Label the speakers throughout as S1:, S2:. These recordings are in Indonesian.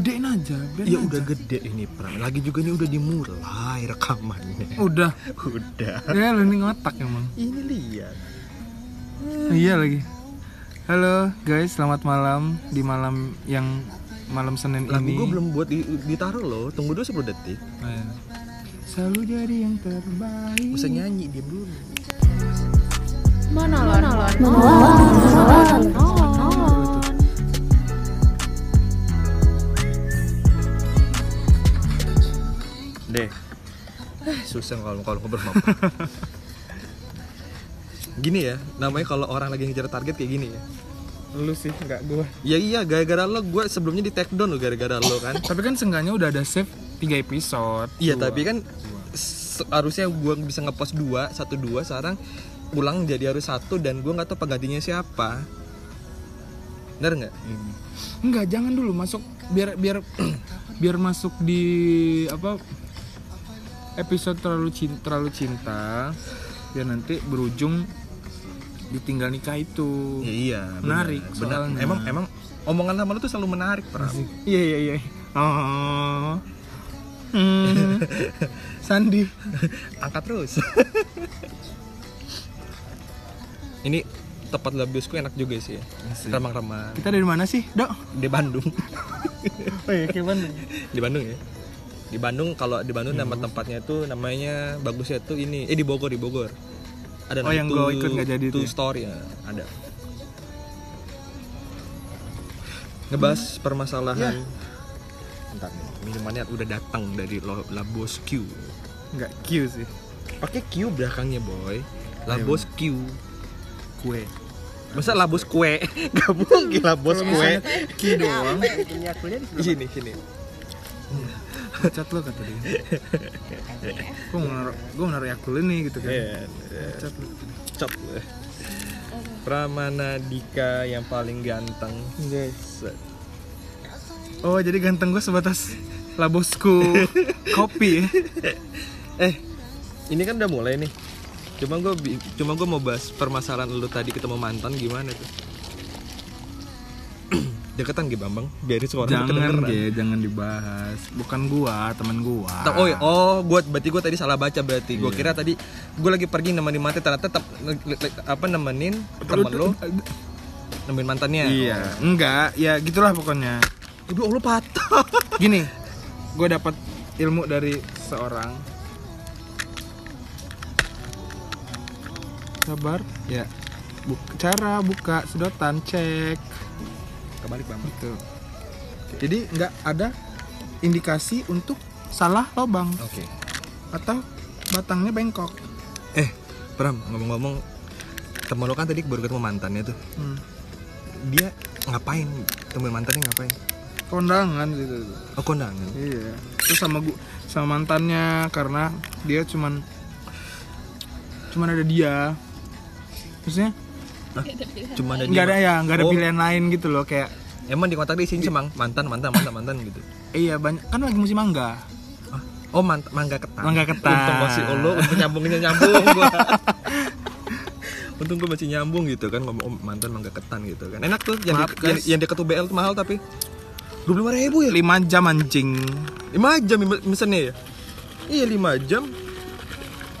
S1: Gedein aja. biarin
S2: Ya
S1: aja.
S2: udah gede ini Pram. Lagi juga ini udah dimulai rekamannya.
S1: Udah.
S2: Udah.
S1: Ya lu ini ngotak emang.
S2: Ini lihat.
S1: Iya lagi. Halo guys, selamat malam di malam yang malam Senin
S2: Lagu
S1: ini.
S2: gue belum buat di- ditaruh loh. Tunggu dulu 10 detik.
S1: Oh, iya. Selalu jadi yang terbaik.
S2: Bisa nyanyi dia dulu.
S3: Monolog. Monolog.
S2: Deh. Eh, Susah kalau kalau ngobrol sama Pram. Gini ya, namanya kalau orang lagi ngejar target kayak gini ya.
S1: Lu sih nggak gua.
S2: Ya iya, gara-gara lo gue sebelumnya di take down lo gara-gara lo kan.
S1: Tapi kan seenggaknya udah ada save 3 episode.
S2: Iya,
S1: Dua.
S2: tapi kan se- harusnya gue bisa ngepost dua, satu dua. Sekarang pulang jadi harus satu dan gue nggak tahu penggantinya siapa. Bener nggak?
S1: Enggak, jangan dulu masuk biar biar biar masuk di apa episode terlalu cinta, terlalu cinta biar nanti berujung ditinggal nikah itu.
S2: Ya, iya.
S1: Menarik
S2: Benar.
S1: soalnya.
S2: Emang emang omongan lama lo tuh selalu menarik, Pram.
S1: Iya iya iya. Oh. Hmm. Sandi.
S2: Angkat terus. Ini tempat labiusku enak juga sih. ya. Remang-remang
S1: Kita dari mana sih, Dok?
S2: di Bandung.
S1: Oh iya, ke Bandung.
S2: di Bandung ya. Di Bandung kalau di Bandung nama tempatnya itu namanya bagusnya tuh ini. Eh di Bogor di Bogor. Ada
S1: Oh, yang
S2: gua
S1: gua ikut nggak jadi itu
S2: Two
S1: ya?
S2: story ya, ada.
S1: Hmm.
S2: Ngebahas
S1: Ya.
S2: permasalahan. Bentar nih, minumannya udah datang dari Lo- Labos Q.
S1: Enggak Q sih.
S2: Pakai Q belakangnya,
S1: Iya,
S2: boy. Labos Q.
S1: Kue.
S2: Masa labos kue? Gak mungkin labos kue.
S1: Q doang.
S2: Di sini, sini.
S1: Pecat lo kata dia. Gue mau naruh, gue mau naruh Yakult ini gitu kan.
S2: Iya, iya.
S1: Pecat lo.
S2: Cep. Pramana Dika yang paling ganteng. Set.
S1: Oh jadi ganteng gue sebatas labosku kopi ya.
S2: Eh, ini kan udah mulai nih. Cuma gue cuma gue mau bahas permasalahan lu tadi ketemu mantan gimana tuh? Deketan gitu Bambang, biarin suara lu
S1: Jangan
S2: kedengeran.
S1: deh, jangan dibahas. Bukan gua, temen gua.
S2: Ta- Oh, iya. oh, gue berarti gue tadi salah baca berarti. Gue kira tadi gue lagi pergi nemenin mantan ternyata tetap apa nemenin temen lu nemenin mantannya.
S1: Iya, enggak. Ya gitulah pokoknya.
S2: Aduh, lu patah.
S1: Gini, gue dapat ilmu dari seorang. Sabar. Ya. Buk- cara buka sedotan cek.
S2: Kebalik Bambang.
S1: Gitu. Jadi nggak ada indikasi untuk salah lobang
S2: Oke.
S1: atau batangnya bengkok.
S2: Eh, Pram, ngomong-ngomong temen lo kan tadi baru ketemu mantannya tuh
S1: Hmm.
S2: Dia ngapain? Temen mantannya ngapain?
S1: kondangan gitu
S2: Oh, kondangan
S1: iya terus sama gua sama mantannya karena dia cuman cuman ada dia maksudnya
S2: Cuma ada
S1: nggak ada ya nggak ada
S2: Oh.
S1: pilihan lain gitu loh kayak
S2: Emang di kontak dia isinya cuma mantan, mantan, mantan, mantan gitu
S1: eh, iya banyak kan lagi musim mangga
S2: Hah? Oh, mant- mangga ketan
S1: Mangga ketan.
S2: Untung masih oh, lo, untung nyambungnya nyambung gua Untung gue masih nyambung gitu kan ngomong oh, mantan mangga ketan gitu kan Enak tuh, yang,
S1: Maaf,
S2: di, yang,
S1: guys.
S2: yang dekat UBL tuh mahal tapi 25 ribu ya?
S1: lima jam anjing
S2: 5 jam im- mesennya ya? Iya 5 jam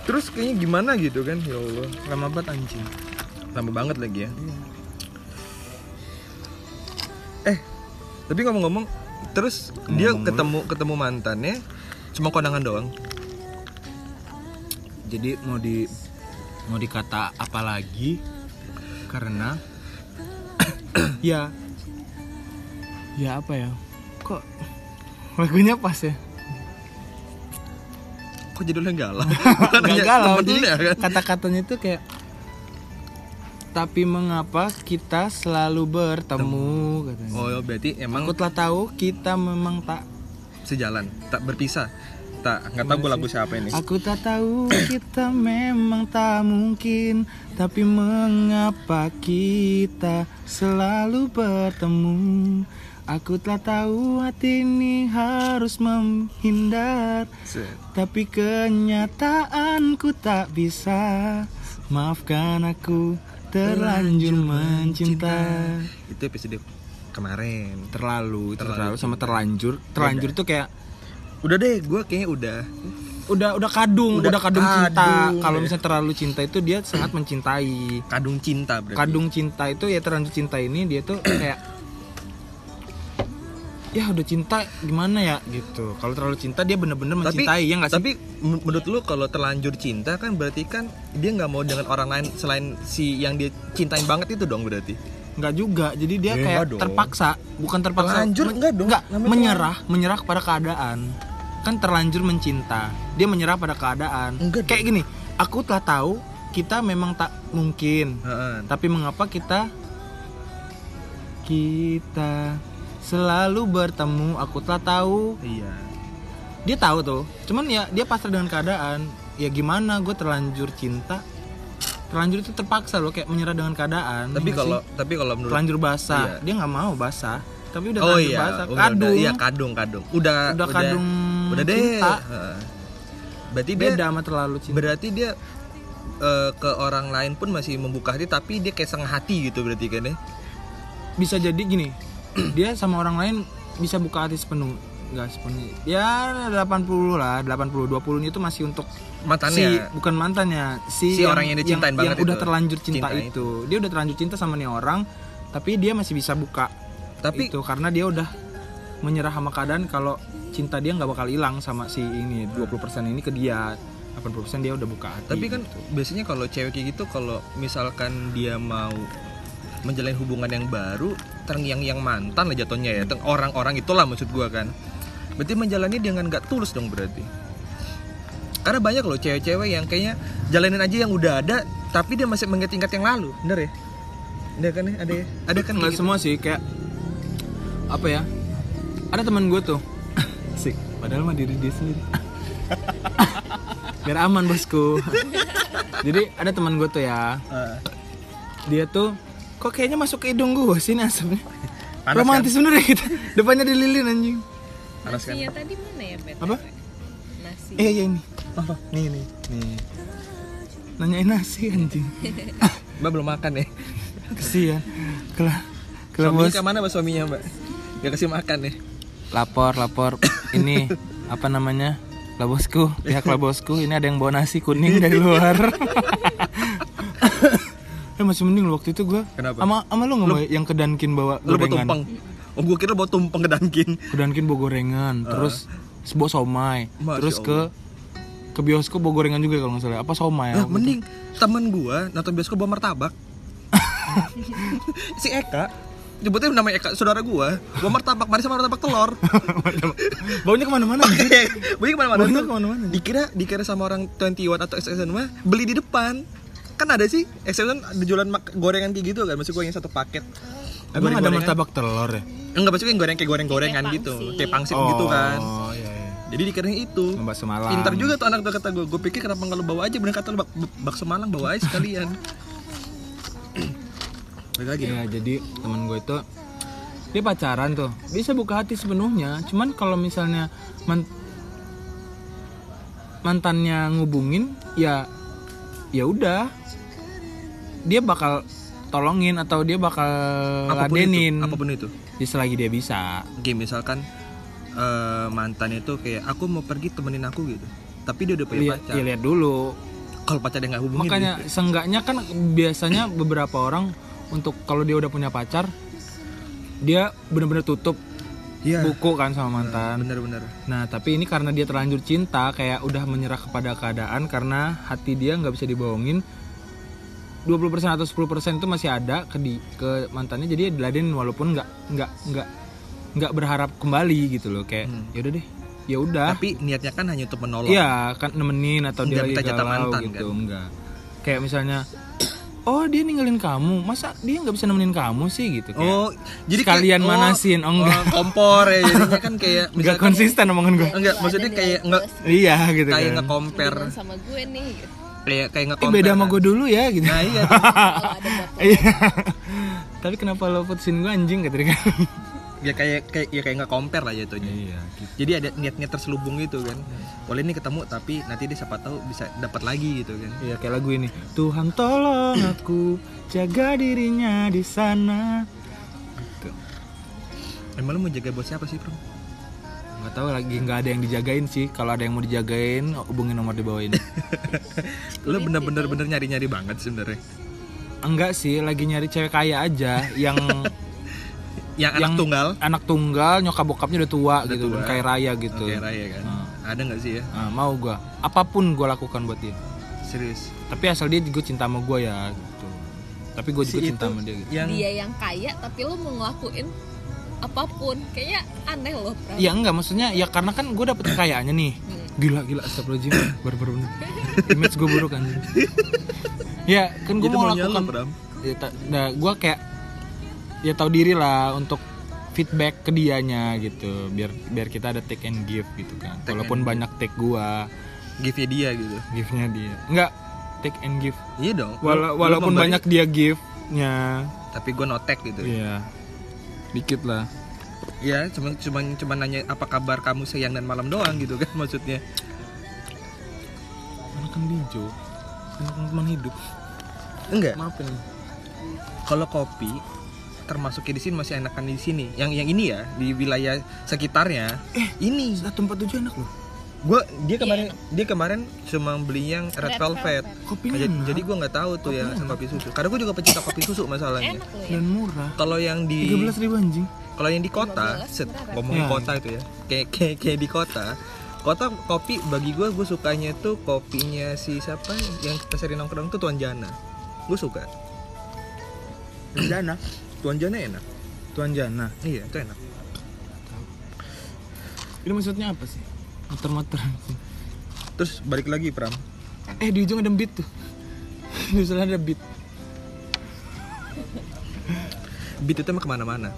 S2: Terus kayaknya gimana gitu kan, ya Allah
S1: lama banget anjing Iya.
S2: Lama banget lagi ya. Eh, tapi ngomong-ngomong, terus dia ketemu ketemu mantannya cuma kondangan doang.
S1: jadi mau di mau dikata apa lagi karena ya ya apa ya kok lagunya pas ya
S2: Kok judulnya galau?
S1: nggak galau jadi
S2: temennya kan.
S1: kata-katanya itu kayak tapi mengapa kita selalu bertemu katanya
S2: Oh, berarti emang
S1: aku telah tahu kita memang tak
S2: sejalan, tak berpisah. Tak nggak tahu gue lagu siapa ini.
S1: aku tak tahu kita memang tak mungkin tapi mengapa kita selalu bertemu aku telah tahu hati ini harus menghindar
S2: Set.
S1: Tapi kenyataanku tak bisa Maafkan aku terlanjur mencinta
S2: Itu episode kemarin
S1: terlalu itu
S2: Terlalu.
S1: terlalu sama terlanjur terlanjur tuh kayak
S2: udah deh gue kayaknya udah
S1: udah udah kadung udah,
S2: Udah
S1: kadung cinta
S2: kadung,
S1: kalau
S2: ya.
S1: misalnya terlalu cinta itu dia sangat mencintai
S2: kadung cinta berarti
S1: kadung cinta itu ya terlanjur cinta ini dia tuh kayak ya udah cinta gimana ya gitu kalau terlalu cinta dia bener-bener mencintai ya nggak sih
S2: tapi men- menurut lu kalau terlanjur cinta kan berarti kan dia nggak mau dengan orang lain selain si yang dia cintain banget itu dong berarti
S1: nggak juga jadi dia
S2: Ya, nggak
S1: kayak
S2: dong.
S1: terpaksa bukan terpaksa
S2: Terlanjur
S1: men-
S2: nggak dong,
S1: nggak,
S2: namanya
S1: menyerah menyerah kepada keadaan kan terlanjur mencinta dia menyerah pada keadaan
S2: Nggak
S1: kayak gini aku telah tahu kita memang tak mungkin
S2: Heeh.
S1: tapi mengapa kita kita selalu bertemu aku telah tahu
S2: iya
S1: dia tahu tuh cuman ya dia pasrah dengan keadaan ya gimana gue terlanjur cinta terlanjur itu terpaksa loh kayak menyerah dengan keadaan
S2: tapi
S1: ya nggak
S2: kalau
S1: sih?
S2: tapi kalau menurut
S1: terlanjur basah
S2: Iya.
S1: dia nggak mau basah tapi udah
S2: oh
S1: terlanjur
S2: iya
S1: basah
S2: udah-
S1: kadung
S2: udah, iya kadung kadung udah
S1: udah kadung
S2: udah deh
S1: cinta
S2: Heeh. berarti dia
S1: beda sama terlalu cinta
S2: berarti dia eh, ke orang lain pun masih membuka hati tapi dia kayak setengah hati gitu berarti kan ya
S1: bisa jadi gini dia sama orang lain bisa buka hati sepenuh nggak sepenuh ya 80 lah 80 20 itu masih untuk si
S2: mantannya
S1: bukan mantannya si,
S2: ya? Si orang yang dicintain
S1: yang,
S2: banget
S1: yang udah
S2: itu.
S1: terlanjur cinta,
S2: Cinta
S1: itu. dia udah terlanjur cinta sama nih orang tapi dia masih bisa buka
S2: tapi
S1: itu karena dia udah menyerah sama keadaan kalau cinta dia nggak bakal hilang sama si ini 20% ini ke dia 80% dia udah buka hati
S2: tapi kan biasanya kalau cewek kayak gitu kalau misalkan dia mau menjalin hubungan yang baru terngiang yang mantan lah jatuhnya ya teng- orang-orang itulah maksud gua kan berarti menjalani dengan nggak tulus dong berarti karena banyak loh cewek-cewek yang kayaknya jalanin aja yang udah ada tapi dia masih mengingat-ingat yang lalu bener ya ada kan ya? ada ya? ada kan
S1: nggak
S2: kayak gitu?
S1: semua sih kayak apa ya ada teman gue tuh sih padahal mah diri dia sendiri biar aman bosku jadi ada teman gue tuh ya
S2: Eh,
S1: dia tuh kok kayaknya masuk ke hidung gue sih nih asapnya
S2: Panas,
S1: romantis bener ya kita depannya ada lilin anjing
S2: panas kan
S3: Nasinya tadi mana ya, Bet?
S1: Apa?
S3: Nasi.
S1: eh iya ini
S2: apa nih nih nih
S1: nanyain nasi anjing
S2: mbak belum makan ya
S1: kesian kelah kelah
S2: suaminya
S1: bos
S2: kemana mbak suaminya mbak gak kasih makan ya
S1: lapor lapor ini apa namanya lah bosku pihak lah bosku ini ada yang bawa nasi kuning dari luar eh masih mending lo waktu itu gue
S2: Kenapa?
S1: ama ama lo nggak bawa yang kedankin bawa
S2: lu bawa
S1: gorengan
S2: tumpeng oh gua kira bawa tumpeng ke Dunkin
S1: kedankin bawa gorengan terus sebuah somai
S2: Ah. Masya
S1: terus ke ke bioskop bawa gorengan juga kalau nggak salah apa somai
S2: Nah,
S1: apa
S2: mending temen gua nonton bioskop bawa martabak. si Eka, nyebutnya namanya Eka, saudara gua, bawa martabak, mari sama martabak telur.
S1: baunya kemana-mana anjing.
S2: Beli kemana-mana.
S1: Baunya
S2: tuh.
S1: kemana-mana.
S2: Dikira dikira sama orang 21 atau XXN mah beli di depan. Kan ada sih XXN ada jualan mak- gorengan kayak gitu kan, maksud gua yang satu paket.
S1: emang ada
S2: Goreng-gorengan.
S1: martabak telur ya
S2: Enggak, maksudnya yang goreng kayak goreng-gorengan
S3: Kayak
S2: gitu,
S3: pangsit.
S2: kayak pangsit gitu kan.
S1: oh iya iya
S2: Jadi dikira itu.
S1: Sama bakso malam
S2: Pintar juga tuh anak tuh kata gue. Gue pikir kenapa nggak lu bawa aja? Bener kata lu bak- bakso malang bawa aja sekalian. Balik lagi.
S1: Iya, jadi teman gue itu dia pacaran tuh bisa buka hati sepenuhnya cuman kalau misalnya man- mantannya ngubungin ya ya udah dia bakal tolongin atau dia bakal ladenin
S2: itu, apapun itu.
S1: Ya, selagi dia bisa
S2: Game misalkan eh, mantan itu kayak aku mau pergi temenin aku gitu. Tapi dia udah punya
S1: lihat
S2: pacar.
S1: ya lihat dulu
S2: Kalau pacarnya nggak hubungin.
S1: makanya
S2: gitu.
S1: seenggaknya kan biasanya beberapa orang untuk kalau dia udah punya pacar dia bener-bener tutup
S2: Iya.
S1: buku kan sama mantan
S2: Bener-bener.
S1: Nah, tapi ini karena dia terlanjur cinta, kayak udah menyerah kepada keadaan karena hati dia nggak bisa dibohongin. 20% atau 10% itu masih ada ke di, ke mantannya jadi ya diladenin walaupun nggak nggak nggak nggak berharap kembali gitu loh kayak ya udah deh ya udah
S2: Tapi niatnya Hmm. kan hanya untuk menolong.
S1: Iya, kan nemenin atau dia
S2: Nggak
S1: lagi
S2: minta jatah
S1: galau
S2: mantan, kan?
S1: gitu, enggak. Kayak misalnya Oh dia ninggalin kamu, masa dia nggak bisa nemenin kamu sih gitu? Kayak,
S2: Oh, jadi
S1: Sekalian
S2: kayak-
S1: manasin, oh enggak.
S2: kompor ya, jadinya kan kayak
S1: nggak
S2: misalkan-
S1: konsisten omongan gue.
S2: Enggak, maksudnya kayak nggak
S1: Iya gitu
S2: kayak
S1: kan.
S2: nge-compare
S3: Hubungan sama gue nih. gitu.
S2: kayak kayak
S1: Eh,
S2: nge-compare.
S1: beda sama
S2: kan.
S1: gue dulu ya gitu.
S2: Nah, iya.
S3: Kalau ada bapak
S1: Iya. Tapi kenapa lo putusin gue anjing kata dia kan?
S2: ya kayak kayak ya kayak nggak compare lah jatuhnya
S1: Iya. Hmm.
S2: jadi ada niat-niat terselubung gitu kan boleh ini ketemu tapi nanti dia siapa tahu bisa dapat lagi gitu kan
S1: Iya kayak lagu ini. Tuhan tolong aku jaga dirinya di sana. Gitu.
S2: Emang lu mau jaga buat siapa sih, Bro?
S1: nggak tahu lagi nggak ada yang dijagain sih kalau ada yang mau dijagain hubungin nomor di bawah ini
S2: Lu bener-bener bener nyari-nyari banget sebenarnya.
S1: enggak sih lagi nyari cewek kaya aja yang
S2: Yang anak
S1: Yang-
S2: tunggal,
S1: anak tunggal nyokap bokapnya udah tua
S2: Udah
S1: gitu
S2: tua.
S1: dan kaya raya gitu
S2: Oke, Raya kan.
S1: Hmm.
S2: Ada nggak sih ya?
S1: Nah, mau gua apapun gua lakukan buat dia
S2: Serius.
S1: tapi asal dia gue cinta sama gua ya gitu tapi gue juga
S2: Si
S1: cinta
S2: itu
S1: sama dia gitu
S2: Yang
S3: dia yang kaya tapi lo mau ngelakuin apapun kayaknya aneh loh Pram.
S1: ya enggak maksudnya ya karena kan gue dapet kekayaannya nih
S3: Hmm.
S1: gila gila astagfirullahaladzim baru-baru bener image gue buruk anjing ya kan gue
S2: Jadi
S1: mau
S2: maunya lu,
S1: lakukan
S2: Bram.
S1: ya, ta- nah, gue kayak ya tahu diri lah untuk feedback ke dianya gitu biar biar kita ada take and give gitu kan
S2: Take
S1: walaupun
S2: and give.
S1: banyak take gua
S2: give-nya dia gitu.
S1: give-nya dia enggak take and give
S2: Iya dong. Lu-
S1: Wala-
S2: lu
S1: walaupun
S2: memberi,
S1: banyak dia give-nya
S2: tapi gue notek gitu.
S1: iya dikit lah
S2: Iya, cuma cuma cuma nanya apa kabar kamu siang dan malam doang gitu kan maksudnya.
S1: anak kan hijau anak teman hidup
S2: Enggak.
S1: maafin
S2: Kalau kopi termasuknya di sini masih enakan di sini. Yang yang ini ya di wilayah sekitarnya.
S3: Eh.
S2: ini
S1: satu empat tujuh enak loh
S2: gue dia kemarin dia kemarin cuma beli yang red,
S3: Iya. Red
S2: velvet.
S3: Velvet. Iya.
S1: kopinya
S2: Jadi,
S1: enak
S2: jadi gue nggak tahu tuh yang sama kopi susu. Karena gue juga pecinta kopi susu masalahnya.
S3: enak loh ya
S1: dan murah
S2: Kalau yang di
S1: tiga belas ribu anjing
S2: Kalau yang di kota,
S3: 15
S2: set,
S3: berapa?
S2: ngomongin
S1: Ya.
S2: kota itu ya, kayak kayak kayak di kota. Kota kopi bagi gue, gue sukanya tuh kopinya si siapa yang kita sering nongkrong tuh Tuan Jana. Gue suka.
S1: jana
S2: Tuan Jana enak.
S1: tuan jana
S2: Iya, itu enak.
S1: ini maksudnya apa sih muter-muter
S2: Terus balik lagi Pram.
S1: eh di ujung ada beat tuh di sana ada beat
S2: Beat itu emang kemana-mana.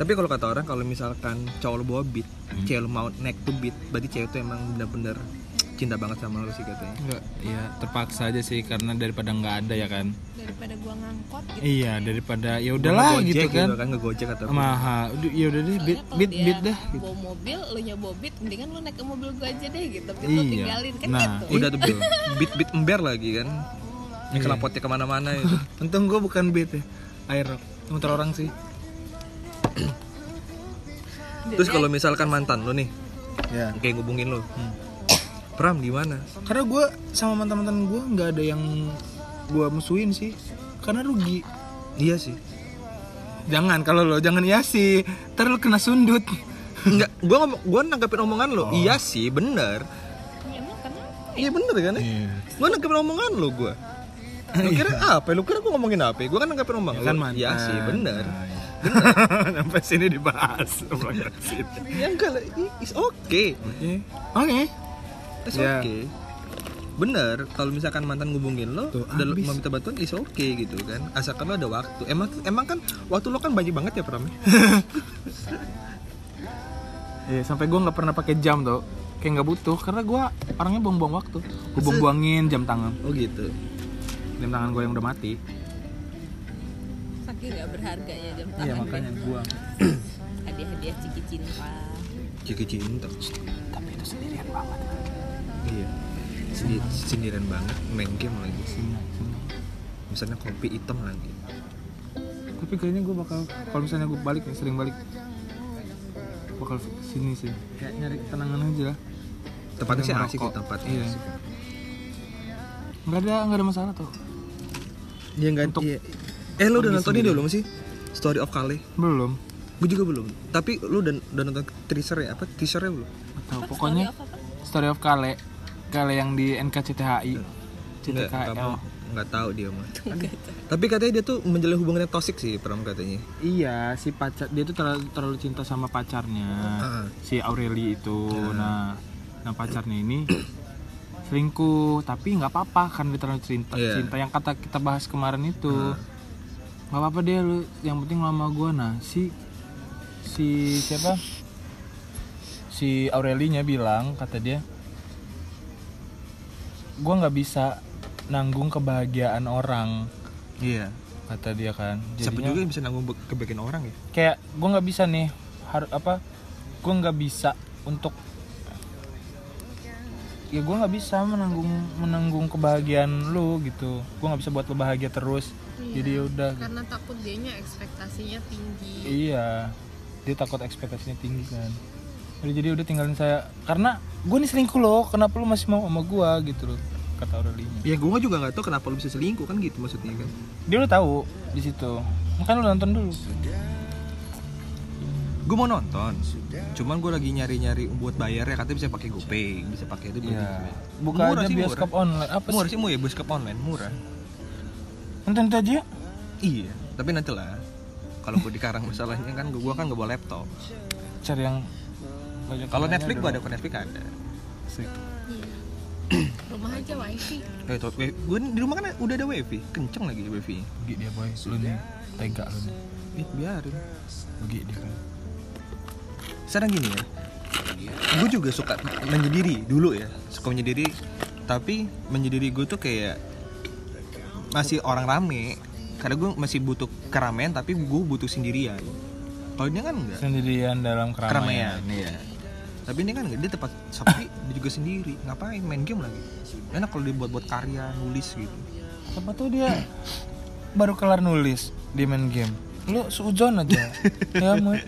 S2: Tapi kalau kata orang kalau misalkan cowok lu bawa beat,
S1: Hmm.
S2: cewek lu mau naik tuh beat, berarti cewek itu emang bener-bener cinta banget sama lu sih katanya.
S1: enggak ya terpaksa aja sih karena daripada nggak ada ya kan
S3: daripada gua ngangkot gitu
S1: iya daripada ya udahlah
S2: Ngegojek
S1: gitu kan
S2: ngegojek atau
S1: mahal Udah, ya udah deh beat
S3: Soalnya kalau
S1: beat
S3: dia
S1: beat dah gitu.
S3: bawa mobil lo nyoba beat mendingan lo naik ke mobil gua aja deh gitu biar lo
S1: Iya.
S3: tinggalin kan
S1: Nah,
S3: gitu
S2: udah tuh beat beat ember lagi kan yang kelapotnya kemana-mana itu
S1: untung gue bukan beat ya air rock muter orang sih
S2: terus kalau misalkan mantan lo nih
S1: ya
S2: kayak ngubungin lo Pram gimana
S1: karena gue sama mantan-mantan gue nggak ada yang gue musuhin sih karena rugi
S2: iya sih
S1: jangan kalau lo jangan iya sih ntar lo kena sundut
S2: Enggak, gua ngomong, gua nanggapin omongan
S1: Oh.
S2: lo. Iya sih, bener.
S3: Ya, emang kenapa
S2: Iya bener kan? ya? Gua nanggapin omongan lo gua. Lu kira apa? Lu kira gua ngomongin apa? Gua kan nanggapin omongan
S1: Iya. kan
S2: lo.
S1: mantan
S2: Iya sih, bener.
S1: Nah, iya. sampai sini dibahas Sampai sini.
S2: Ya enggak lah, i- it's okay.
S1: oke oke
S2: It's
S1: Ya.
S2: okay. Bener, kalau misalkan mantan ngubungin lo,
S1: Tuh,
S2: dan lo
S1: abis.
S2: mau minta bantuan, is oke gitu kan. Asalkan lo ada waktu. Emang emang kan waktu lo kan banyak banget ya Pram? ya?
S1: Iya, sampai gue nggak pernah pakai jam tuh kayak nggak butuh karena gue orangnya buang-buang waktu gue buang-buangin jam tangan
S2: Oh gitu.
S1: jam tangan gue yang udah mati
S3: saking gak berharganya
S1: Iya,
S3: jam tangan
S1: gue
S3: hadiah hadiah ciki cinta
S2: Ciki cinta. Tapi itu sendirian banget. Iya. Sendi- sendirian banget main game lagi. Misalnya kopi hitam lagi.
S1: tapi kayaknya gue bakal kalau misalnya gue balik nih sering balik bakal sini sih kayak nyari ketenangan aja lah
S2: Tempatnya sih asik sih
S1: Merokok.
S2: tempatnya.
S1: Iya.
S2: asik.
S1: nggak ada nggak ada masalah tuh
S2: Iya enggak
S1: Untuk-
S2: iya. Eh lu udah
S1: pergi
S2: nonton ini
S1: sendiri.
S2: belum sih? Story of Kale.
S1: belum
S2: Gue juga belum. Tapi lu udah, udah nonton teaser ya? Apa teasernya belum?
S1: atau pokoknya story of kale kale yang di NKCTHI
S2: Nggak,
S1: CTKL
S2: nggak- nggak tahu dia mah. Tapi katanya dia tuh menjalin hubungan yang toksik sih, Pram katanya.
S1: iya si pacar dia tuh terlalu, terlalu cinta sama pacarnya
S2: Ah.
S1: si Aureli itu
S2: Ya.
S1: nah nah pacarnya ini selingkuh tapi nggak apa-apa kan dia terlalu cinta
S2: Iya. Nah.
S1: cinta yang kata kita bahas kemarin itu nggak apa-apa deh lu yang penting lu sama gua nah si si siapa si Aurelinya bilang kata dia gua nggak bisa nanggung kebahagiaan orang
S2: Iya.
S1: kata dia kan
S2: Siapa
S1: Jadinya-
S2: juga yang bisa nanggung be- kebagian orang ya?
S1: kayak gue nggak bisa nih harus apa gue nggak bisa untuk ya gue nggak bisa menanggung menanggung kebahagiaan lu gitu gue nggak bisa buat lu bahagia terus jadi ya udah gitu.
S4: Iya, karena takut dianya ekspektasinya tinggi
S1: Iya, dia takut ekspektasinya tinggi kan. Jadi, jadi udah tinggalin saya karena gue nih selingkuh loh. Kenapa lu masih mau sama gue gitu loh? Kata Aurelinya.
S2: ya gue juga nggak tahu kenapa lu bisa selingkuh kan gitu maksudnya kan
S1: Dia udah tahu di situ. Makanya lu nonton dulu.
S2: gue mau nonton cuman gue lagi nyari nyari buat bayarnya katanya bisa pakai GoPay bisa pakai itu
S1: Iya.
S2: beli-
S1: Buka
S2: Murah
S1: aja
S2: sih,
S1: bioskop
S2: murah.
S1: online. Apa sih?
S2: murah sih murah ya bioskop online murah
S1: Nonton itu aja. ya.
S2: iya tapi nanti lah kalau gue di Karang masalahnya kan gue kan nggak bawa laptop
S1: Cari yang banyak
S2: kalau
S1: yang
S2: Netflix
S1: ada
S2: gue ada
S1: dong.
S2: kok Netflix ada
S1: Sip.
S4: rumah aja wifi
S2: Eh, gue di rumah kan udah ada wifi kenceng lagi wifi
S1: Rugi dia boy. Lu nih tega lu nih.
S2: ya biarin
S1: Rugi dia. kan. boy.
S2: sekarang gini ya gue juga suka menyendiri dulu ya suka menyendiri tapi menyendiri gue tuh kayak masih orang rame karena gue masih butuh keramaian tapi gue butuh sendirian kalau dia kan enggak
S1: Sendirian dalam keramaian.
S2: keramaian iya tapi ini kan enggak dia tempat sepi dia juga sendiri ngapain main game lagi enak kalau dibuat buat karya nulis gitu
S1: Siapa tuh dia baru kelar nulis di main game. Lu seujon aja. ya, Moy.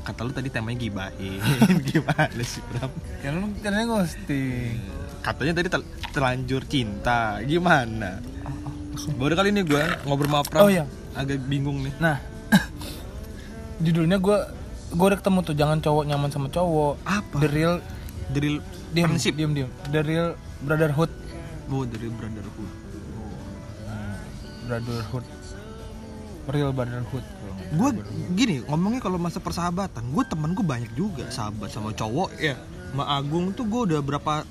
S2: kata lu tadi temanya gibahin gimana sih Bram
S1: Ya lu caranya ghosting
S2: katanya tadi tel- terlanjur cinta gimana baru kali ini gue ngobrol sama Pram
S1: Oh, iya.
S2: agak bingung nih
S1: Nah Judulnya gue Gue udah ketemu tuh Jangan cowok nyaman sama cowok
S2: Apa?
S1: The real
S2: the real
S1: Diam
S2: friendship
S1: Diam diam The real brotherhood
S2: oh the real brotherhood
S1: Brotherhood Real brotherhood
S2: gue gini ngomongnya kalau masa persahabatan gue temen gue banyak juga sahabat sama cowok
S1: Iya.
S2: ya sama Agung tuh gue udah berapa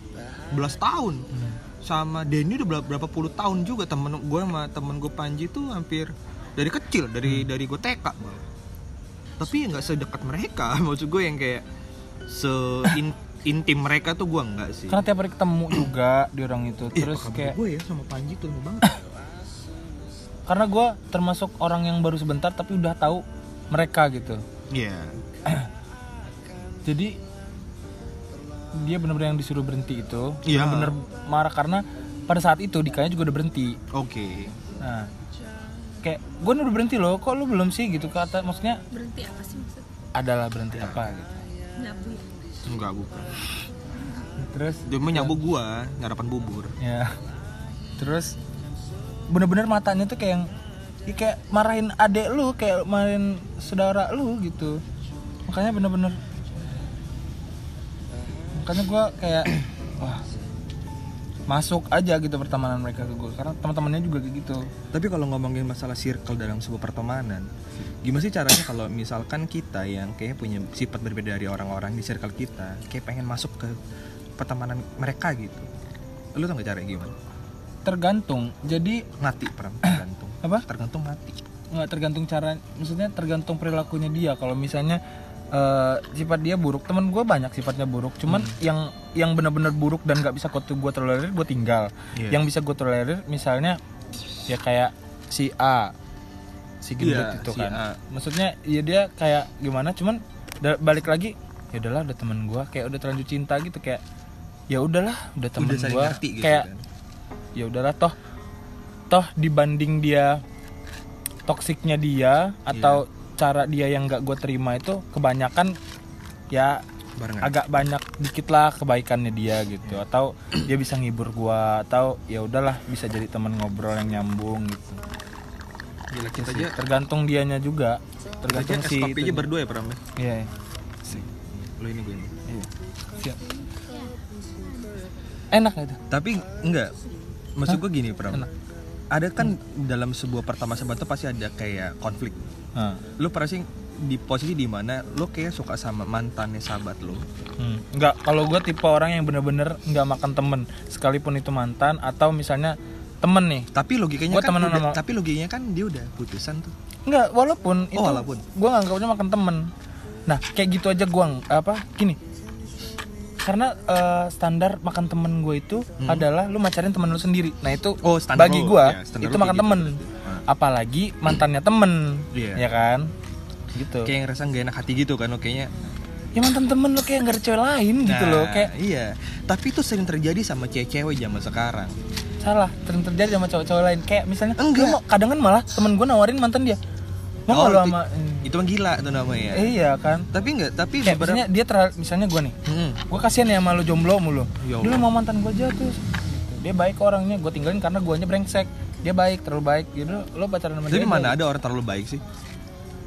S2: belas tahun
S1: Hmm.
S2: sama Denny udah berapa, berapa puluh tahun juga temen gue sama temen gue Panji tuh hampir dari kecil dari
S1: Hmm.
S2: dari gue TK malah. tapi ya nggak sedekat mereka maksud gue yang kayak seintim mereka tuh gue nggak sih
S1: Karena tiap hari ketemu juga Di orang itu
S2: Ih,
S1: Terus
S2: apa kabar
S1: kayak
S2: gue ya sama Panji tuh lama banget
S1: Karena gue termasuk orang yang baru sebentar Tapi udah tahu mereka gitu
S2: Iya
S1: Jadi Dia bener-bener yang disuruh berhenti itu
S2: Iya.
S1: Bener-bener marah Karena pada saat itu Dikanya juga udah berhenti
S2: oke
S1: Nah, kayak gue udah berhenti loh, kok lu belum sih gitu kata maksudnya
S4: berhenti apa sih maksud
S1: adalah berhenti apa gitu.
S3: Iya.
S4: nyabu ya
S2: enggak bukan
S1: Terus
S2: dia mah nyabu
S1: Iya.
S2: gue ngarapan bubur
S1: ya, terus bener-bener matanya tuh kayak yang ya kayak marahin adek lu, kayak marahin saudara lu gitu. Makanya bener-bener makanya gue kayak wah masuk aja gitu pertemanan mereka ke gue karena teman-temannya juga kayak gitu
S2: Tapi kalau ngomongin masalah circle dalam sebuah pertemanan, gimana sih caranya kalau misalkan kita yang kayak punya sifat berbeda dari orang-orang di circle kita, kayak pengen masuk ke pertemanan mereka gitu. Lu tau gak caranya gimana?
S1: tergantung jadi
S2: Mati pram tergantung.
S1: apa
S2: Tergantung mati.
S1: nggak tergantung cara maksudnya tergantung perilakunya dia kalau misalnya eh, sifat dia buruk temen gue banyak sifatnya buruk cuman
S2: Hmm.
S1: yang yang benar-benar buruk dan nggak bisa gue tolerir gue tinggal
S2: Iya.
S1: yang bisa gue tolerir misalnya ya kayak si A si gendut
S2: Iya,
S1: itu
S2: si
S1: kan
S2: A.
S1: maksudnya ya dia kayak gimana cuman da- balik lagi ya udahlah udah temen gue kayak udah terlanjur cinta gitu kayak ya udahlah udah temen
S2: Udah saling
S1: gue
S2: ngerti gitu
S1: kayak
S2: kan.
S1: ya udahlah toh toh dibanding dia toksiknya dia atau cara dia yang nggak gue terima itu kebanyakan ya
S2: Barengan.
S1: agak banyak dikit lah kebaikannya dia gitu atau dia bisa ngibur gue atau ya udahlah bisa jadi teman ngobrol yang nyambung gitu
S2: Gila
S1: Gitu
S2: kita
S1: sih.
S2: aja
S1: tergantung dianya juga
S2: kita aja
S1: tergantung
S2: es
S1: si
S2: kopi aja
S1: itunya.
S2: berdua ya pram ya.
S1: Iya, iya.
S2: Lu ini gue ini.
S1: siap enak nggak itu
S2: Tapi enggak. Maksud gue gini pram. Ada kan dalam sebuah pertama sahabat tuh pasti ada kayak konflik.
S1: Nah.
S2: lu pernah sih di posisi di mana lu kayak suka sama mantannya sahabat lu
S1: Hmm, nggak kalau gue tipe orang yang bener-bener nggak makan temen sekalipun itu mantan atau misalnya temen nih
S2: tapi logikanya
S1: Gua Oh,
S2: kan
S1: temenan
S2: udah-
S1: sama-
S2: tapi logikanya kan dia udah putusan tuh
S1: nggak walaupun itu
S2: Oh, walaupun.
S1: gue nganggapnya makan temen nah kayak gitu aja gue apa gini karena eh, standar makan temen gue itu adalah lu macarin temen lu sendiri nah itu
S2: Hmm. Oh, standar
S1: bagi
S2: lu.
S1: gue
S2: Ya, standar
S1: itu
S2: lu kayak
S1: makan
S2: gitu
S1: temen
S2: berarti.
S1: apalagi mantannya temen
S2: Iya.
S1: ya kan gitu
S2: kayak ngerasa nggak enak hati gitu kan lo kayaknya
S1: ya mantan temen lu kayak nggak ada cewek lain gitu
S2: Nah,
S1: loh kayak
S2: iya tapi itu sering terjadi sama cewek-cewek zaman sekarang
S1: salah sering terjadi sama cowok-cowok lain kayak misalnya
S2: Enggak.
S1: lu mau- kadang kan malah temen gue nawarin mantan dia mau nggak
S2: Oh,
S1: lu
S2: itu-
S1: sama eh,
S2: itu mah gila tuh namanya
S1: iya kan
S2: tapi enggak tapi
S1: kayak
S2: beberapa
S1: misalnya dia terhadap misalnya gue nih
S2: Hmm.
S1: gue kasihan ya sama lu jomblo mulu
S2: Ya
S1: dulu
S2: Allah.
S1: mau mantan gue jatuh dia baik orangnya gue tinggalin karena guanya brengsek dia baik terlalu baik jadi lo pacaran sama
S2: tapi
S1: dia
S2: mana
S1: aja.
S2: ada orang terlalu baik sih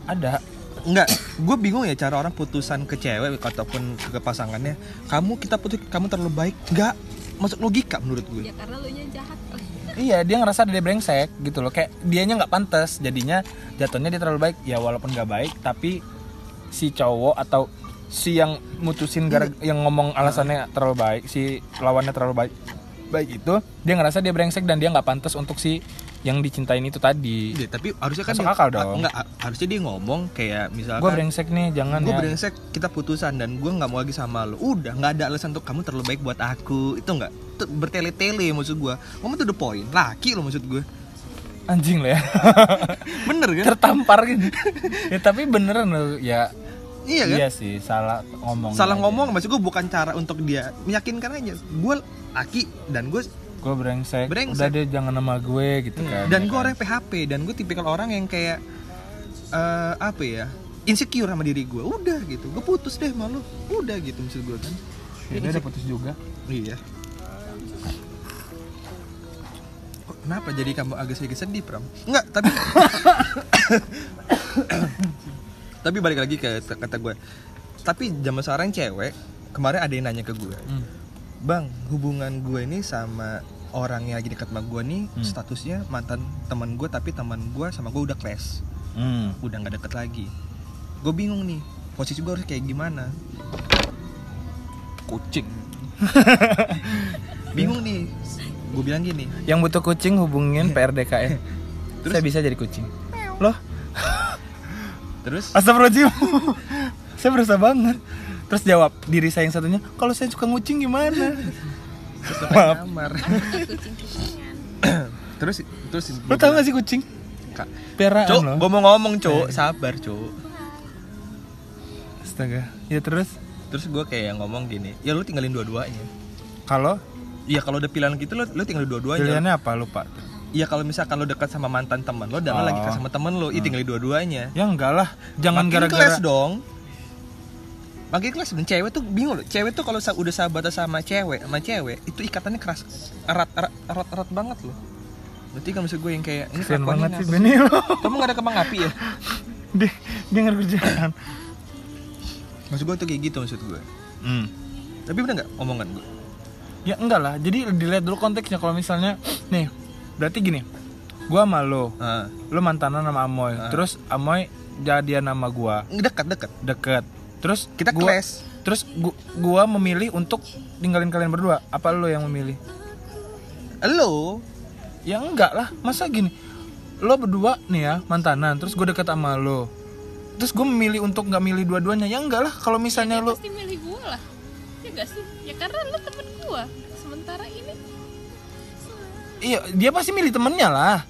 S1: ada
S2: Enggak, gue bingung ya cara orang putusan ke cewek ataupun ke pasangannya. Kamu kita putus, kamu terlalu baik. Enggak, masuk logika menurut gue.
S3: ya karena lu nya jahat kali
S1: iya dia ngerasa dia brengsek gitu loh kayak dianya nggak pantas jadinya jatuhnya dia terlalu baik ya walaupun nggak baik tapi si cowok atau si yang mutusin gara
S2: Hmm.
S1: yang ngomong alasannya terlalu baik si lawannya terlalu baik baik itu dia ngerasa dia brengsek dan dia nggak pantas untuk si yang dicintain itu tadi
S2: Iya, tapi harusnya kan
S1: Masuk akal dong.
S2: Ah, Enggak, ah, harusnya dia ngomong kayak misalkan
S1: gue brengsek nih jangan
S2: gue
S1: ya
S2: brengsek, kita putusan dan gue nggak mau lagi sama lo. Udah, nggak ada alasan untuk kamu terlalu baik buat aku. Itu enggak Itu bertele-tele maksud gue. Kamu tuh the point, laki lo maksud gue.
S1: anjing lah ya
S2: Bener kan?
S1: tertampar gitu ya tapi beneran loh ya
S2: iya kan?
S1: sih salah ngomong
S2: Salah ngomong maksud gue bukan cara untuk dia meyakinkan aja. Gue laki dan gue
S1: gue brengsek,
S2: Brengsek. Hmm.
S1: udah deh jangan sama gue gitu kan ya
S2: dan gue
S1: kan?
S2: orang yang PHP dan gue tipikal orang yang kayak eh, apa ya insecure sama diri gue udah gitu gue putus deh malu udah gitu maksud gue kan
S1: Ya, dia udah putus juga
S2: iya Kok kenapa jadi kamu agak sedikit sedih pram Enggak, tapi tapi balik lagi ke kata gue tapi zaman sekarang cewek kemarin ada yang nanya ke gue
S1: Hmm.
S2: bang hubungan gue ini sama orang yang lagi dekat sama gue nih
S1: Hmm.
S2: statusnya mantan teman gue tapi teman gue sama gue udah clash
S1: hmm.
S2: udah nggak deket lagi gue bingung nih posisi gue harus kayak gimana kucing bingung nih gue bilang gini
S1: yang butuh kucing hubungin PRDKN
S2: Terus?
S1: ya. saya bisa jadi kucing loh
S2: terus
S1: astagfirullahaladzim saya berusaha banget terus jawab diri saya yang satunya kalau saya suka ngucing gimana
S2: terus sampai nyamar
S3: kucing kucingan
S2: terus terus
S1: lo tau gak sih Nah, Iya, kucing kan
S2: Kak,
S1: peraan
S2: Cuk,
S1: loh
S2: gue mau ngomong cuk, sabar cuk
S1: astaga ya terus
S2: Terus gue kayak ngomong gini, ya lu tinggalin dua-duanya
S1: kalau
S2: Iya kalau udah pilihan gitu lu, lu tinggalin dua-duanya
S1: pilihannya apa lupa
S2: Iya kalau misalkan lo dekat sama mantan teman lo dan lo
S1: Oh.
S2: lagi dekat sama temen lo, itu tinggalin dua-duanya.
S1: ya enggak lah jangan
S2: Makin
S1: gara-gara
S2: kelas dong. Makin kelas dan cewek tuh bingung loh. Cewek tuh kalau sa- udah sahabatan sama cewek, sama cewek itu ikatannya keras erat erat erat, erat banget loh. Berarti kan maksud gue yang kayak ini
S1: keren
S2: kelakuannya
S1: banget sih
S2: kenapa
S1: Benny lo
S2: Kamu gak ada kembang api ya?
S1: dia dia nggak kerjaan
S2: Maksud gue tuh kayak gitu maksud gue.
S1: hmm.
S2: Tapi bener nggak omongan gue?
S1: Ya enggak lah, jadi dilihat dulu konteksnya kalau misalnya nih, berarti gini. Gua sama lo,
S2: Ah,
S1: lo mantanan sama Amoy, terus Amoy jadian sama gua,
S2: dekat dekat.
S1: deket. Terus
S2: Kita
S1: gua,
S2: clash.
S1: Terus gua, gua memilih untuk tinggalin kalian berdua. Apa lo yang memilih?
S2: Lo
S1: Ya enggak lah, masa gini. Lo berdua nih ya mantanan, terus gue deket sama lo. Terus gue memilih untuk nggak milih dua-duanya. Ya enggak lah, kalau misalnya lo
S3: pasti milih gue lah ya gak sih ya karena lu temen gue sementara ini
S1: iya dia pasti milih temennya lah.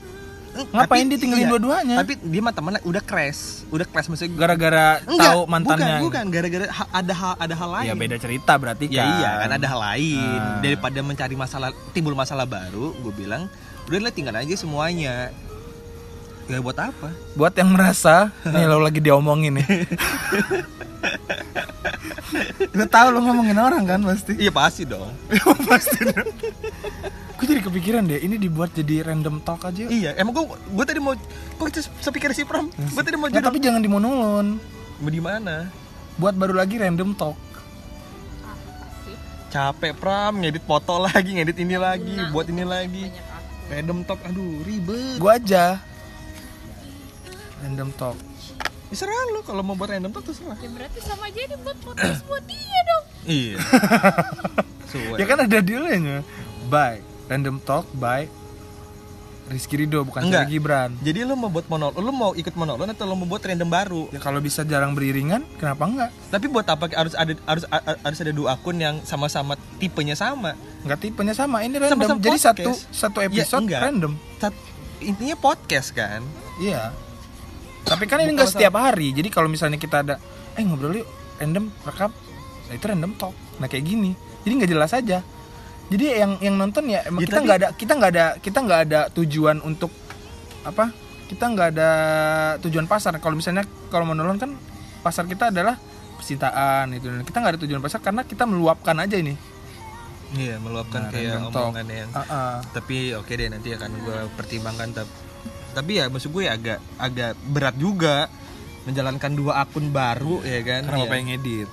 S1: Ngapain dia tinggalin dua-duanya?
S2: iya, Tapi dia mah temennya udah crash, udah crash maksudnya
S1: Gara-gara
S2: Enggak,
S1: tahu mantannya.
S2: Bukan, bukan gara-gara ha- ada hal ada hal lain.
S1: Ya beda cerita berarti
S2: Ya
S1: kan.
S2: iya kan ada hal lain
S1: Ah.
S2: daripada mencari masalah timbul masalah baru, gue bilang udah lah tinggal aja semuanya. Ya buat apa?
S1: Buat yang merasa nih lo lagi diomongin nih. lo tahu lo ngomongin orang kan pasti.
S2: Iya pasti dong.
S1: Gue jadi kepikiran deh, ini dibuat jadi random talk aja.
S2: iya, emang gue gue tadi mau kok itu sepikir si Pram. Gue tadi mau
S1: Nah,
S2: jodoh.
S1: tapi jangan dimonulon.
S2: Mau di mana?
S1: Buat baru lagi random talk.
S2: Capek Pram ngedit foto lagi, ngedit ini lagi, buat ini lagi.
S3: banyak aku
S2: Random talk, aduh ribet.
S1: Gue aja. Random talk.
S2: Ya, serah lo kalau mau buat random talk terserah.
S3: ya berarti sama aja ini buat podcast buat dia dong
S2: Iya. Suwe.
S1: Ya kan ada dealnya. Bye. Random talk by Rizky Rido bukan
S2: Enggak.
S1: Sari Gibran.
S2: Jadi lo mau buat monolog, lo mau ikut monolog atau lo mau buat random baru?
S1: Ya kalau bisa jarang beriringan, kenapa enggak?
S2: Tapi buat apa harus ada harus a- harus ada dua akun yang sama-sama tipenya sama?
S1: Enggak tipenya sama, ini random.
S2: Sama-sama
S1: Jadi
S2: podcast.
S1: satu satu episode
S2: enggak.
S1: random.
S2: Sat- intinya podcast kan?
S1: Iya. Tapi kan ini enggak setiap hari. Jadi kalau misalnya kita ada eh ngobrol yuk random rekam. Nah, itu random talk. Nah kayak gini. Jadi nggak jelas aja. jadi yang yang nonton ya emang
S2: Ya,
S1: kita
S2: tapi-
S1: nggak ada kita nggak ada kita nggak ada tujuan untuk apa kita nggak ada tujuan pasar kalau misalnya kalau menonton kan pasar kita adalah percintaan itu kita nggak ada tujuan pasar karena kita meluapkan aja ini
S2: Iya,
S1: Nah,
S2: meluapkan kayak
S1: random talk.
S2: omongan yang
S1: Ah, ah.
S2: tapi oke deh nanti akan gue pertimbangkan tapi tapi ya maksud gue ya agak agak berat juga menjalankan dua akun baru ya kan
S1: kenapa
S2: Ya.
S1: pengen ngedit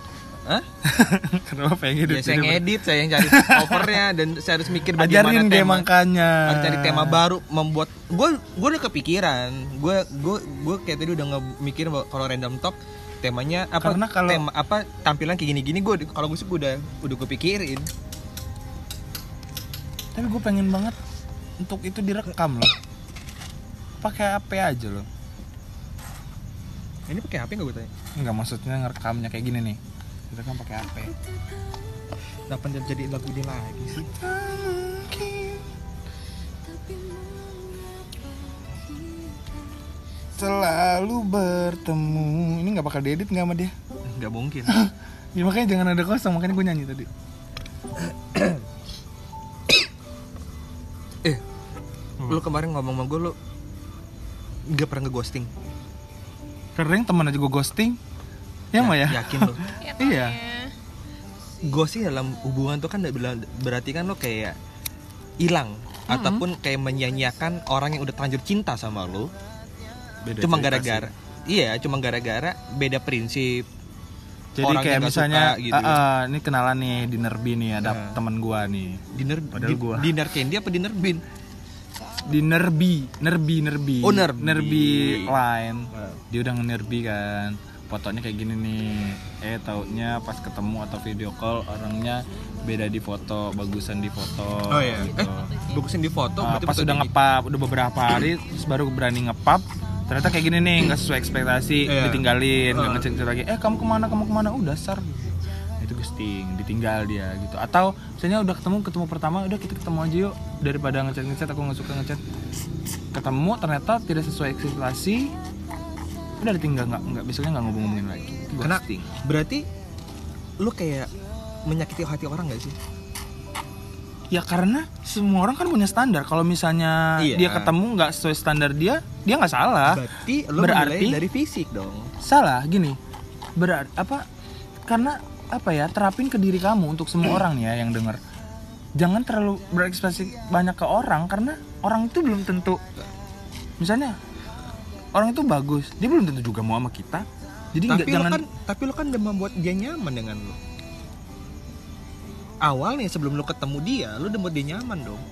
S2: Hah?
S1: kenapa pengen ngedit
S2: ya saya ngedit saya yang cari covernya dan saya harus mikir bagaimana
S1: ajarin dia
S2: tema
S1: makanya
S2: harus cari tema baru membuat gue gue udah kepikiran gue gue gue kayak tadi udah nggak mikir bahwa kalau random talk temanya apa
S1: Karena kalau-
S2: tema apa tampilan kayak gini-gini gue kalau gue sih udah udah kepikirin
S1: tapi gue pengen banget untuk itu direkam loh pakai HP aja loh
S2: ini pakai HP nggak gue tanya
S1: nggak maksudnya ngerekamnya kayak gini nih direkam pakai HP
S2: kenapa jadi- jadi lagu dia lagi sih
S1: selalu bertemu ini nggak bakal diedit nggak sama dia
S2: nggak mungkin
S1: ya, makanya jangan ada kosong makanya gue nyanyi tadi
S2: eh lu kemarin ngomong sama gue lu nggak pernah ngeghosting
S1: keren teman aja gue ghosting ya mah ya
S2: yakin lu
S1: iya
S2: ghosting dalam hubungan tuh kan nggak bila- berarti kan lo kayak hilang ataupun kayak menyanyiakan orang yang udah terlanjur cinta sama lo
S1: Beda
S2: cuma
S1: cerita sih.
S2: gara-gara iya cuma gara-gara beda prinsip
S1: jadi
S2: orangnya
S1: kayak
S2: nggak
S1: misalnya
S2: suka gitu
S1: "Ah, ah, ini kenalan nih dinner B nih ada
S2: Nah.
S1: teman gue nih
S2: dinner
S1: Padahal
S2: di-
S1: gua.
S2: dinner candy apa dinner bean
S1: di nerbi nerbi nerbi
S2: Oh, Nerbi. Nah.
S1: line
S2: Wow.
S1: dia udah nge-nerbi kan fotonya kayak gini nih eh taunya pas ketemu atau video call orangnya beda di foto bagusan di foto gitu.
S2: eh bagusin di foto
S1: Ah,
S2: berarti
S1: pas
S2: foto
S1: udah
S2: di-
S1: ngepap udah beberapa hari terus baru berani ngepap ternyata kayak gini nih nggak sesuai ekspektasi
S2: Iya.
S1: ditinggalin nggak
S2: Ah.
S1: ngecek lagi eh kamu kemana kamu kemana uh dasar Nah, itu ghosting ditinggal dia gitu atau misalnya udah ketemu ketemu pertama udah kita ketemu aja yuk daripada ngechat ngechat aku nggak suka ngechat ketemu ternyata tidak sesuai ekspektasi udah ditinggal nggak nggak besoknya nggak ngomong ngomongin lagi
S2: Karena-
S1: ghosting
S2: berarti lo kayak menyakiti hati orang gak sih
S1: ya karena semua orang kan punya standar kalau misalnya
S2: Iya.
S1: dia ketemu nggak sesuai standar dia dia nggak salah
S2: berarti lo
S1: berarti-
S2: menilai dari fisik dong
S1: salah gini berat apa karena apa ya terapin ke diri kamu untuk semua orang ya yang denger jangan terlalu berekspresi banyak ke orang karena orang itu belum tentu misalnya orang itu bagus dia belum tentu juga mau sama kita jadi nggak
S2: tapi lo
S1: jangan
S2: kan tapi lo kan udah membuat dia nyaman dengan lo awalnya sebelum lo ketemu dia lo udah membuat dia nyaman dong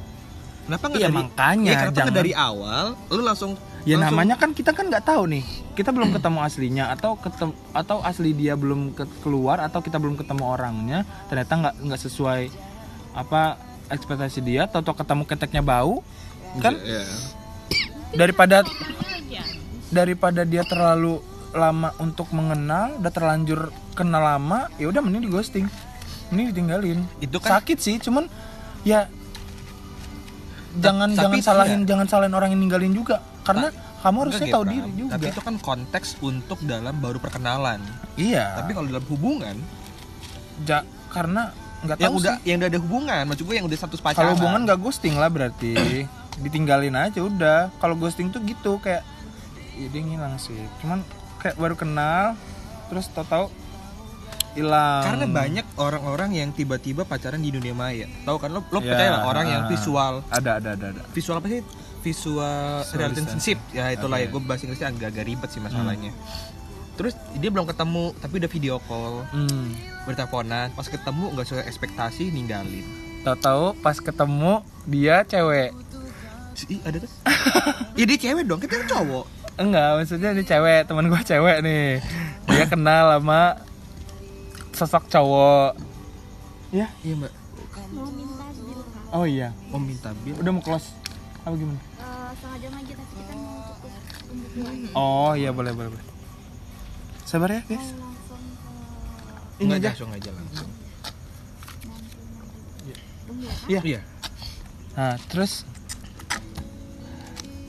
S2: kenapa nggak
S1: Iya, makanya,
S2: dari ya, kenapa nggak
S1: jangan-
S2: dari awal lo langsung
S1: ya
S2: langsung-
S1: namanya kan kita kan nggak tahu nih kita belum ketemu aslinya atau ketemu atau asli dia belum ke- keluar atau kita belum ketemu orangnya ternyata nggak nggak sesuai apa ekspektasi dia atau ketemu keteknya bau kan
S2: Iya.
S1: daripada
S4: Aja.
S1: daripada dia terlalu lama untuk mengenal udah terlanjur kenal lama ya udah mending di ghosting mending ditinggalin
S2: Itu kan-
S1: sakit sih cuman ya jangan jangan
S2: tapi itu ya.
S1: salahin jangan salahin orang yang ninggalin juga karena kamu harusnya
S2: Enggak,
S1: tahu
S2: Gibran.
S1: diri juga
S2: tapi itu kan konteks untuk dalam baru perkenalan
S1: iya
S2: tapi kalau dalam hubungan
S1: ja- karena nggak tahu
S2: yang Ya udah
S1: sih.
S2: yang udah ada hubungan maksud gue yang udah status pacaran
S1: kalau hubungan nggak ghosting lah berarti ditinggalin aja udah kalau ghosting tuh gitu kayak ya dia ngilang sih cuman kayak baru kenal terus tahu-tahu hilang
S2: karena banyak orang-orang yang tiba-tiba pacaran di dunia maya tahu kan lo lo
S1: Ya,
S2: percaya nggak orang yang
S1: ah.
S2: visual
S1: ada ada ada ada
S2: visual apa sih visual
S1: Visual
S2: relationship ya itulah
S1: Oke.
S2: ya gue bahasa Inggrisnya agak agak ribet sih masalahnya terus dia belum ketemu tapi udah video call
S1: hmm.
S2: berteleponan pas ketemu nggak sesuai ekspektasi ninggalin
S1: tahu-tahu pas ketemu dia cewek
S2: Ih, ada tuh ya dia cewek dong kita kan cowok
S1: enggak maksudnya dia cewek teman gua cewek nih dia kenal sama sosok cowok ya
S2: iya mbak
S1: oh iya
S2: om minta bil
S1: udah mau close apa gimana
S5: Eh, setengah jam lagi tapi kita mau cukup untuk buat
S1: oh iya boleh boleh boleh sabar ya guys
S5: langsung
S1: ini aja
S2: langsung aja langsung
S1: Iya.
S2: iya
S1: Nah, terus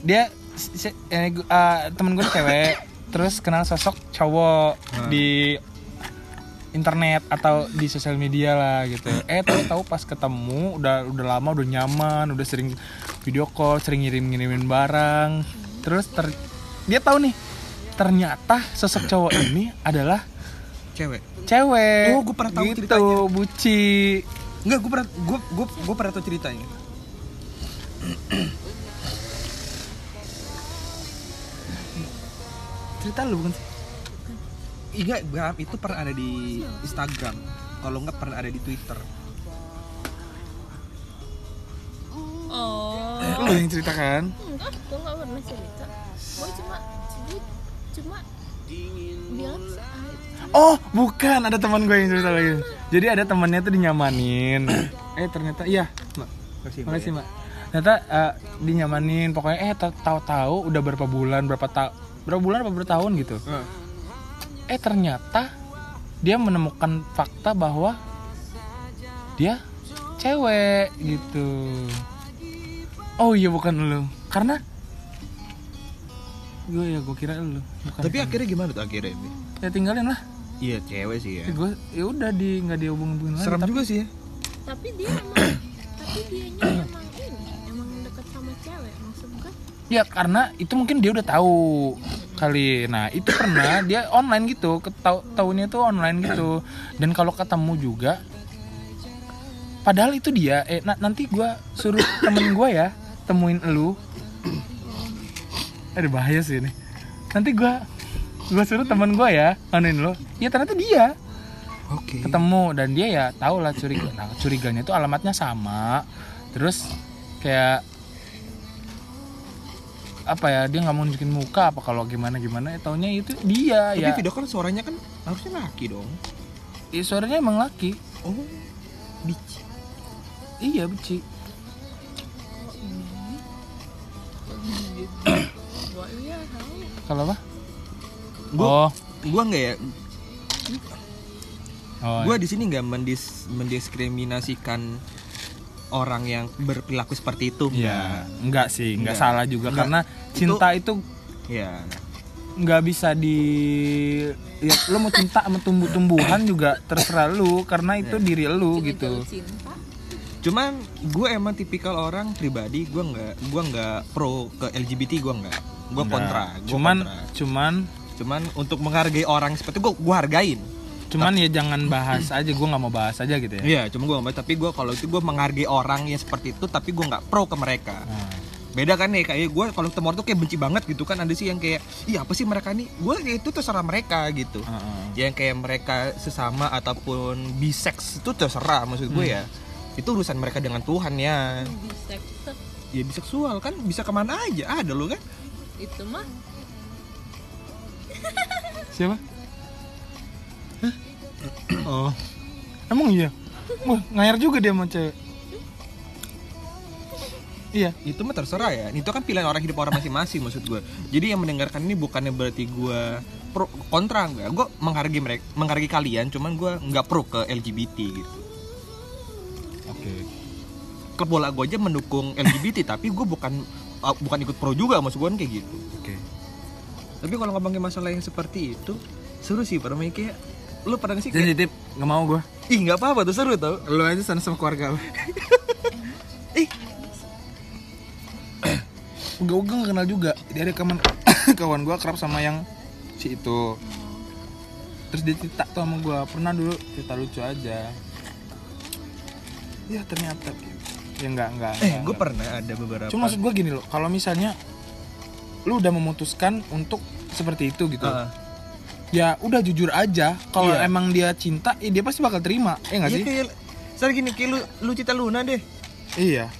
S1: dia si- si- eh, gu- ah, temen gue cewek, terus kenal sosok cowok
S2: Hmm.
S1: di internet atau di sosial media lah gitu eh tahu-tahu pas ketemu udah udah lama udah nyaman udah sering video call sering ngirim ngirimin barang terus ter- dia tahu nih ternyata sosok cowok ini adalah
S2: cewek
S1: cewek
S2: Oh, gua pernah tahu
S1: gitu
S2: ceritanya.
S1: buci
S2: Enggak, gue pernah gue gue gue pernah tahu ceritanya.
S1: cerita lu bukan sih
S2: Iya, Bab, itu pernah ada di Instagram. Kalau nggak pernah ada di Twitter.
S3: oh
S1: lu yang ceritakan
S3: enggak gue nggak pernah cerita gue cuma gue cuma bilang "Ah,
S1: Oh, bukan. Ada teman gue yang cerita lagi. Jadi ada temannya tuh dinyamanin. eh, ternyata iya. Mak,
S2: Makasih, Mbak,
S1: Makasih,
S2: ya.
S1: Mak. Ternyata eh, dinyamanin. Pokoknya eh ta- tahu-tahu udah berapa bulan, berapa ta berapa bulan apa berapa tahun gitu.
S2: Heeh.
S1: Eh, ternyata dia menemukan fakta bahwa dia cewek gitu. Oh iya bukan lu. Karena gue ya gue kira lu. Bukan. kan?
S2: Tapi akhirnya gimana tuh akhirnya? Bi?
S1: ya tinggalin lah.
S2: Iya, cewek sih ya.
S1: Ya gue ya udah di nggak dihubung-hubungin lagi.
S2: Serem
S1: tapi-
S2: juga sih ya.
S3: tapi dia emang tapi dianya emang ini emang deket sama cewek maksud gue
S1: Ya karena itu mungkin dia udah tahu kali. Nah itu pernah dia online gitu, ketau tahunya tuh online gitu. Dan kalau ketemu juga, padahal itu dia. Eh na- nanti gue suruh temen gue ya temuin elu. Ada bahaya sih ini. Nanti gue gue suruh temen gue ya anuin lo. Ya ternyata dia.
S2: Oke.
S1: ketemu dan dia ya tau lah curiga nah curiganya itu alamatnya sama terus kayak apa ya dia nggak mau nunjukin muka apa kalau gimana gimana ya taunya itu dia
S2: Tapi
S1: ya
S2: video kan suaranya kan harusnya laki dong.
S1: Ih, suaranya emang laki
S2: Oh, bici.
S1: iya beci
S4: Gua iya tahu.
S1: kalau apa
S2: Gua,
S1: oh
S2: gua nggak ya.
S1: oh
S2: Gua di sini nggak mendis, mendiskriminasikan orang yang berperilaku seperti itu.
S1: ya nggak sih nggak
S2: Nggak.
S1: salah juga
S2: Nggak.
S1: karena cinta itu
S2: Ya.
S1: nggak bisa di ya, lo mau cinta sama tumbuh-tumbuhan juga terserah lu karena
S2: Iya.
S1: itu diri lu gitu
S3: cinta
S2: Cuman gue emang tipikal orang pribadi gue nggak gua nggak pro ke LGBT gue nggak gue
S1: Nggak.
S2: kontra. Gua
S1: cuman
S2: kontra.
S1: cuman
S2: cuman untuk menghargai orang seperti gue gue hargain.
S1: cuman ya jangan bahas aja gue nggak mau bahas aja gitu ya
S2: Iya, cuma gue nggak mau. Tapi gue kalau itu gue menghargai orang yang seperti itu, tapi gue nggak pro ke mereka.
S1: Nah,
S2: Beda kan nih kayak gue kalau ketemu orang tuh kayak benci banget gitu kan ada sih yang kayak, iya apa sih mereka nih? Gue ya itu terserah mereka gitu.
S1: heeh.
S2: Yang kayak mereka sesama ataupun bisex itu terserah maksud gue ya. Itu urusan mereka dengan Tuhan ya.
S3: bisek tuh,
S2: Ya biseksual kan bisa kemana aja ada lo kan.
S3: itu mah
S1: siapa
S2: Oh.
S1: emang iya Wah, ngayar juga dia sama cewek iya
S2: itu mah terserah ya itu kan pilihan orang hidup orang masing-masing maksud gue jadi yang mendengarkan ini bukannya berarti gue pro kontra enggak gue menghargai mereka menghargai kalian cuman gue nggak pro ke LGBT gitu
S1: oke
S2: klub bola gue aja mendukung LGBT tapi gue bukan uh, bukan ikut pro juga maksud gue kan kayak gitu
S1: oke
S2: tapi kalau ngomongin masalah yang seperti itu seru sih pada main kayak lu pernah nggak sih kayak,
S1: sensitif nggak mau gue
S2: ih nggak apa-apa tuh seru tau
S1: lo aja sana sama keluarga lo
S2: Ih.
S1: Enggak, gue gak kenal juga Dia ada kawan, kawan gue kerap sama yang si itu Terus dia cerita tuh sama gue Pernah dulu cerita lucu aja Ya ternyata Ya enggak, enggak, enggak,
S2: eh gue
S1: enggak.
S2: pernah ada beberapa
S1: Cuma maksud gue gini loh Kalau misalnya Lu udah memutuskan untuk seperti itu gitu
S2: Heeh.
S1: Ya udah jujur aja Kalau
S2: Iya.
S1: emang dia cinta ya Dia pasti bakal terima Ya gak
S2: Iya,
S1: sih?
S2: kayak sekarang gini kayak lu lu cerita Luna deh
S1: Iya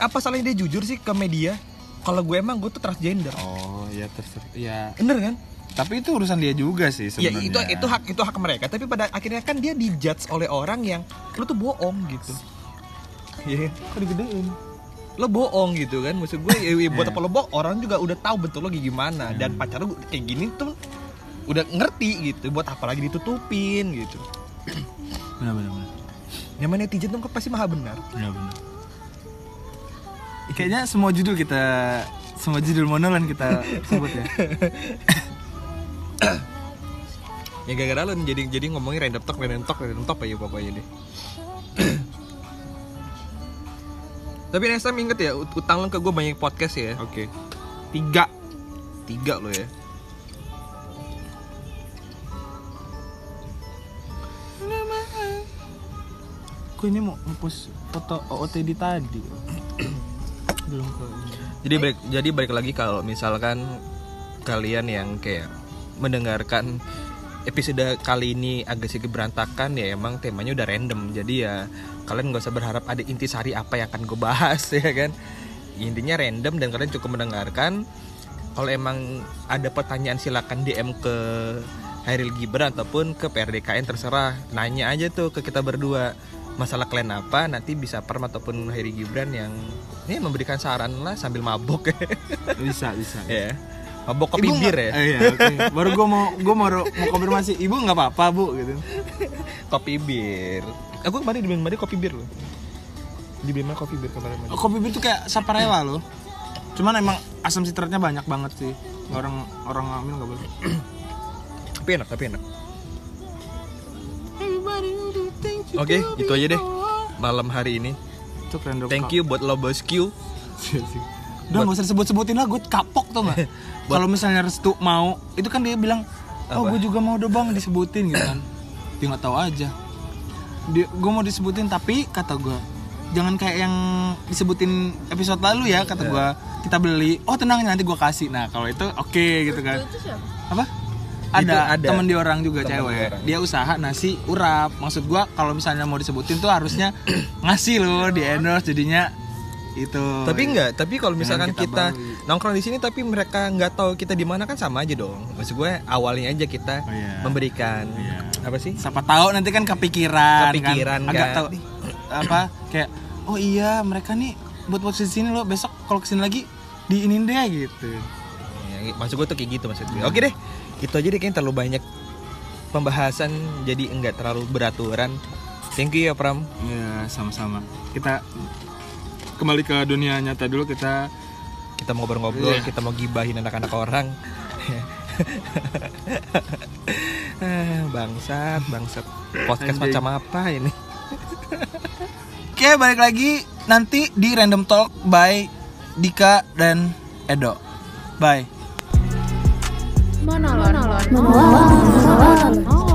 S2: apa salahnya dia jujur sih ke media kalau gue emang gue tuh transgender
S1: Oh ya terserah Ya
S2: bener kan
S1: Tapi itu urusan dia juga sih
S2: ya
S1: sebenarnya.
S2: itu itu hak itu hak mereka tapi pada akhirnya kan dia dijudge oleh orang yang lu tuh bohong gitu Iya,
S1: Kok digedein?
S2: lo bohong gitu kan maksud gue ya, ya buat apa lo bohong orang juga udah tahu bentuk lo kayak gimana dan pacar lo kayak gini tuh udah ngerti gitu buat apa lagi ditutupin gitu
S1: Benar benar benar.
S2: namanya netizen tuh kan pasti maha benar
S1: benar, benar. Kayaknya semua judul kita semua judul monolan kita sebut ya.
S2: ya gara-gara lu nih, jadi jadi ngomongin random talk random talk random talk aja pokoknya deh tapi next time inget ya ut- utang lo ke gue banyak podcast ya
S1: Oke. Tiga.
S2: tiga lo ya
S1: Gue ini mau ngepost foto OOTD tadi. Belum ke ini.
S2: jadi balik jadi balik lagi kalau misalkan kalian yang kayak mendengarkan episode kali ini agak sedikit berantakan ya emang temanya udah random jadi ya kalian gak usah berharap ada intisari apa yang akan gue bahas ya kan intinya random dan kalian cukup mendengarkan kalau emang ada pertanyaan silakan DM ke Hairil Gibran ataupun ke PRDKN terserah nanya aja tuh ke kita berdua masalah kalian apa nanti bisa Perm ataupun Hairi Gibran yang ini memberikan saran lah sambil mabok ya
S1: Bisa, bisa.
S2: ya mabok kopi bir ya
S1: Eh, iya, oke. Baru gue mau gue mau mau konfirmasi, "Ibu nggak apa-apa, Bu?" gitu.
S2: kopi bir aku kemarin dibeliin Madi kopi bir loh dibeliin Madi kopi bir kemarin Madi.
S1: Oh, Kopi bir tuh kayak saparela loh. Cuman emang asam sitratnya banyak banget sih. Orang orang ngambil nggak boleh.
S2: tapi enak tapi enak oke itu aja deh malam hari ini
S1: Itu keren dong.
S2: thank you buat lo bosku
S1: Iya Udah nggak usah disebut-sebutin lah, gue kapok tuh nggak? Kalau misalnya Restu mau, itu kan dia bilang, oh
S2: Apa?
S1: gue juga mau dong bang disebutin gitu kan. dia nggak tahu aja. Dia, gue mau disebutin tapi kata gue, jangan kayak yang disebutin episode lalu ya kata gue.
S2: Iya.
S1: Kita beli, oh tenang nanti gue kasih. Nah kalau itu oke gitu kan.
S4: Itu siapa?
S1: Apa?
S2: Itu
S1: Ada,
S2: ada.
S1: temen di orang juga
S2: Temen
S1: cewek.
S2: di orang.
S1: Dia usaha nasi urap. Maksud gue kalau misalnya mau disebutin tuh harusnya ngasih loh di endorse jadinya itu.
S2: tapi enggak tapi kalau
S1: Iya. Jangan
S2: misalkan
S1: kita
S2: kita,
S1: balik.
S2: nongkrong di sini tapi mereka nggak tahu kita di mana kan sama aja dong maksud gue awalnya aja kita
S1: Oh, iya.
S2: memberikan
S1: Iya.
S2: apa sih
S1: siapa tahu nanti kan kepikiran
S2: Kepikiran,
S1: agak
S2: kan.
S1: tahu apa kayak oh iya mereka nih buat buat sini loh besok kalau kesini lagi diinin deh gitu
S2: Ya, maksud gue tuh kayak gitu maksud gue oke deh itu aja deh kayaknya terlalu banyak pembahasan jadi enggak terlalu beraturan thank you ya Pram
S1: ya sama-sama kita kembali ke dunia nyata dulu kita
S2: kita mau
S1: Iya.
S2: ngobrol-ngobrol, kita mau gibahin anak-anak orang. Ah, bangsat, bangsat. Podcast
S1: Anjing.
S2: macam apa ini?
S1: oke balik lagi nanti di random talk by Dika dan Edo bye
S3: Monolog. Monolog. Monolog.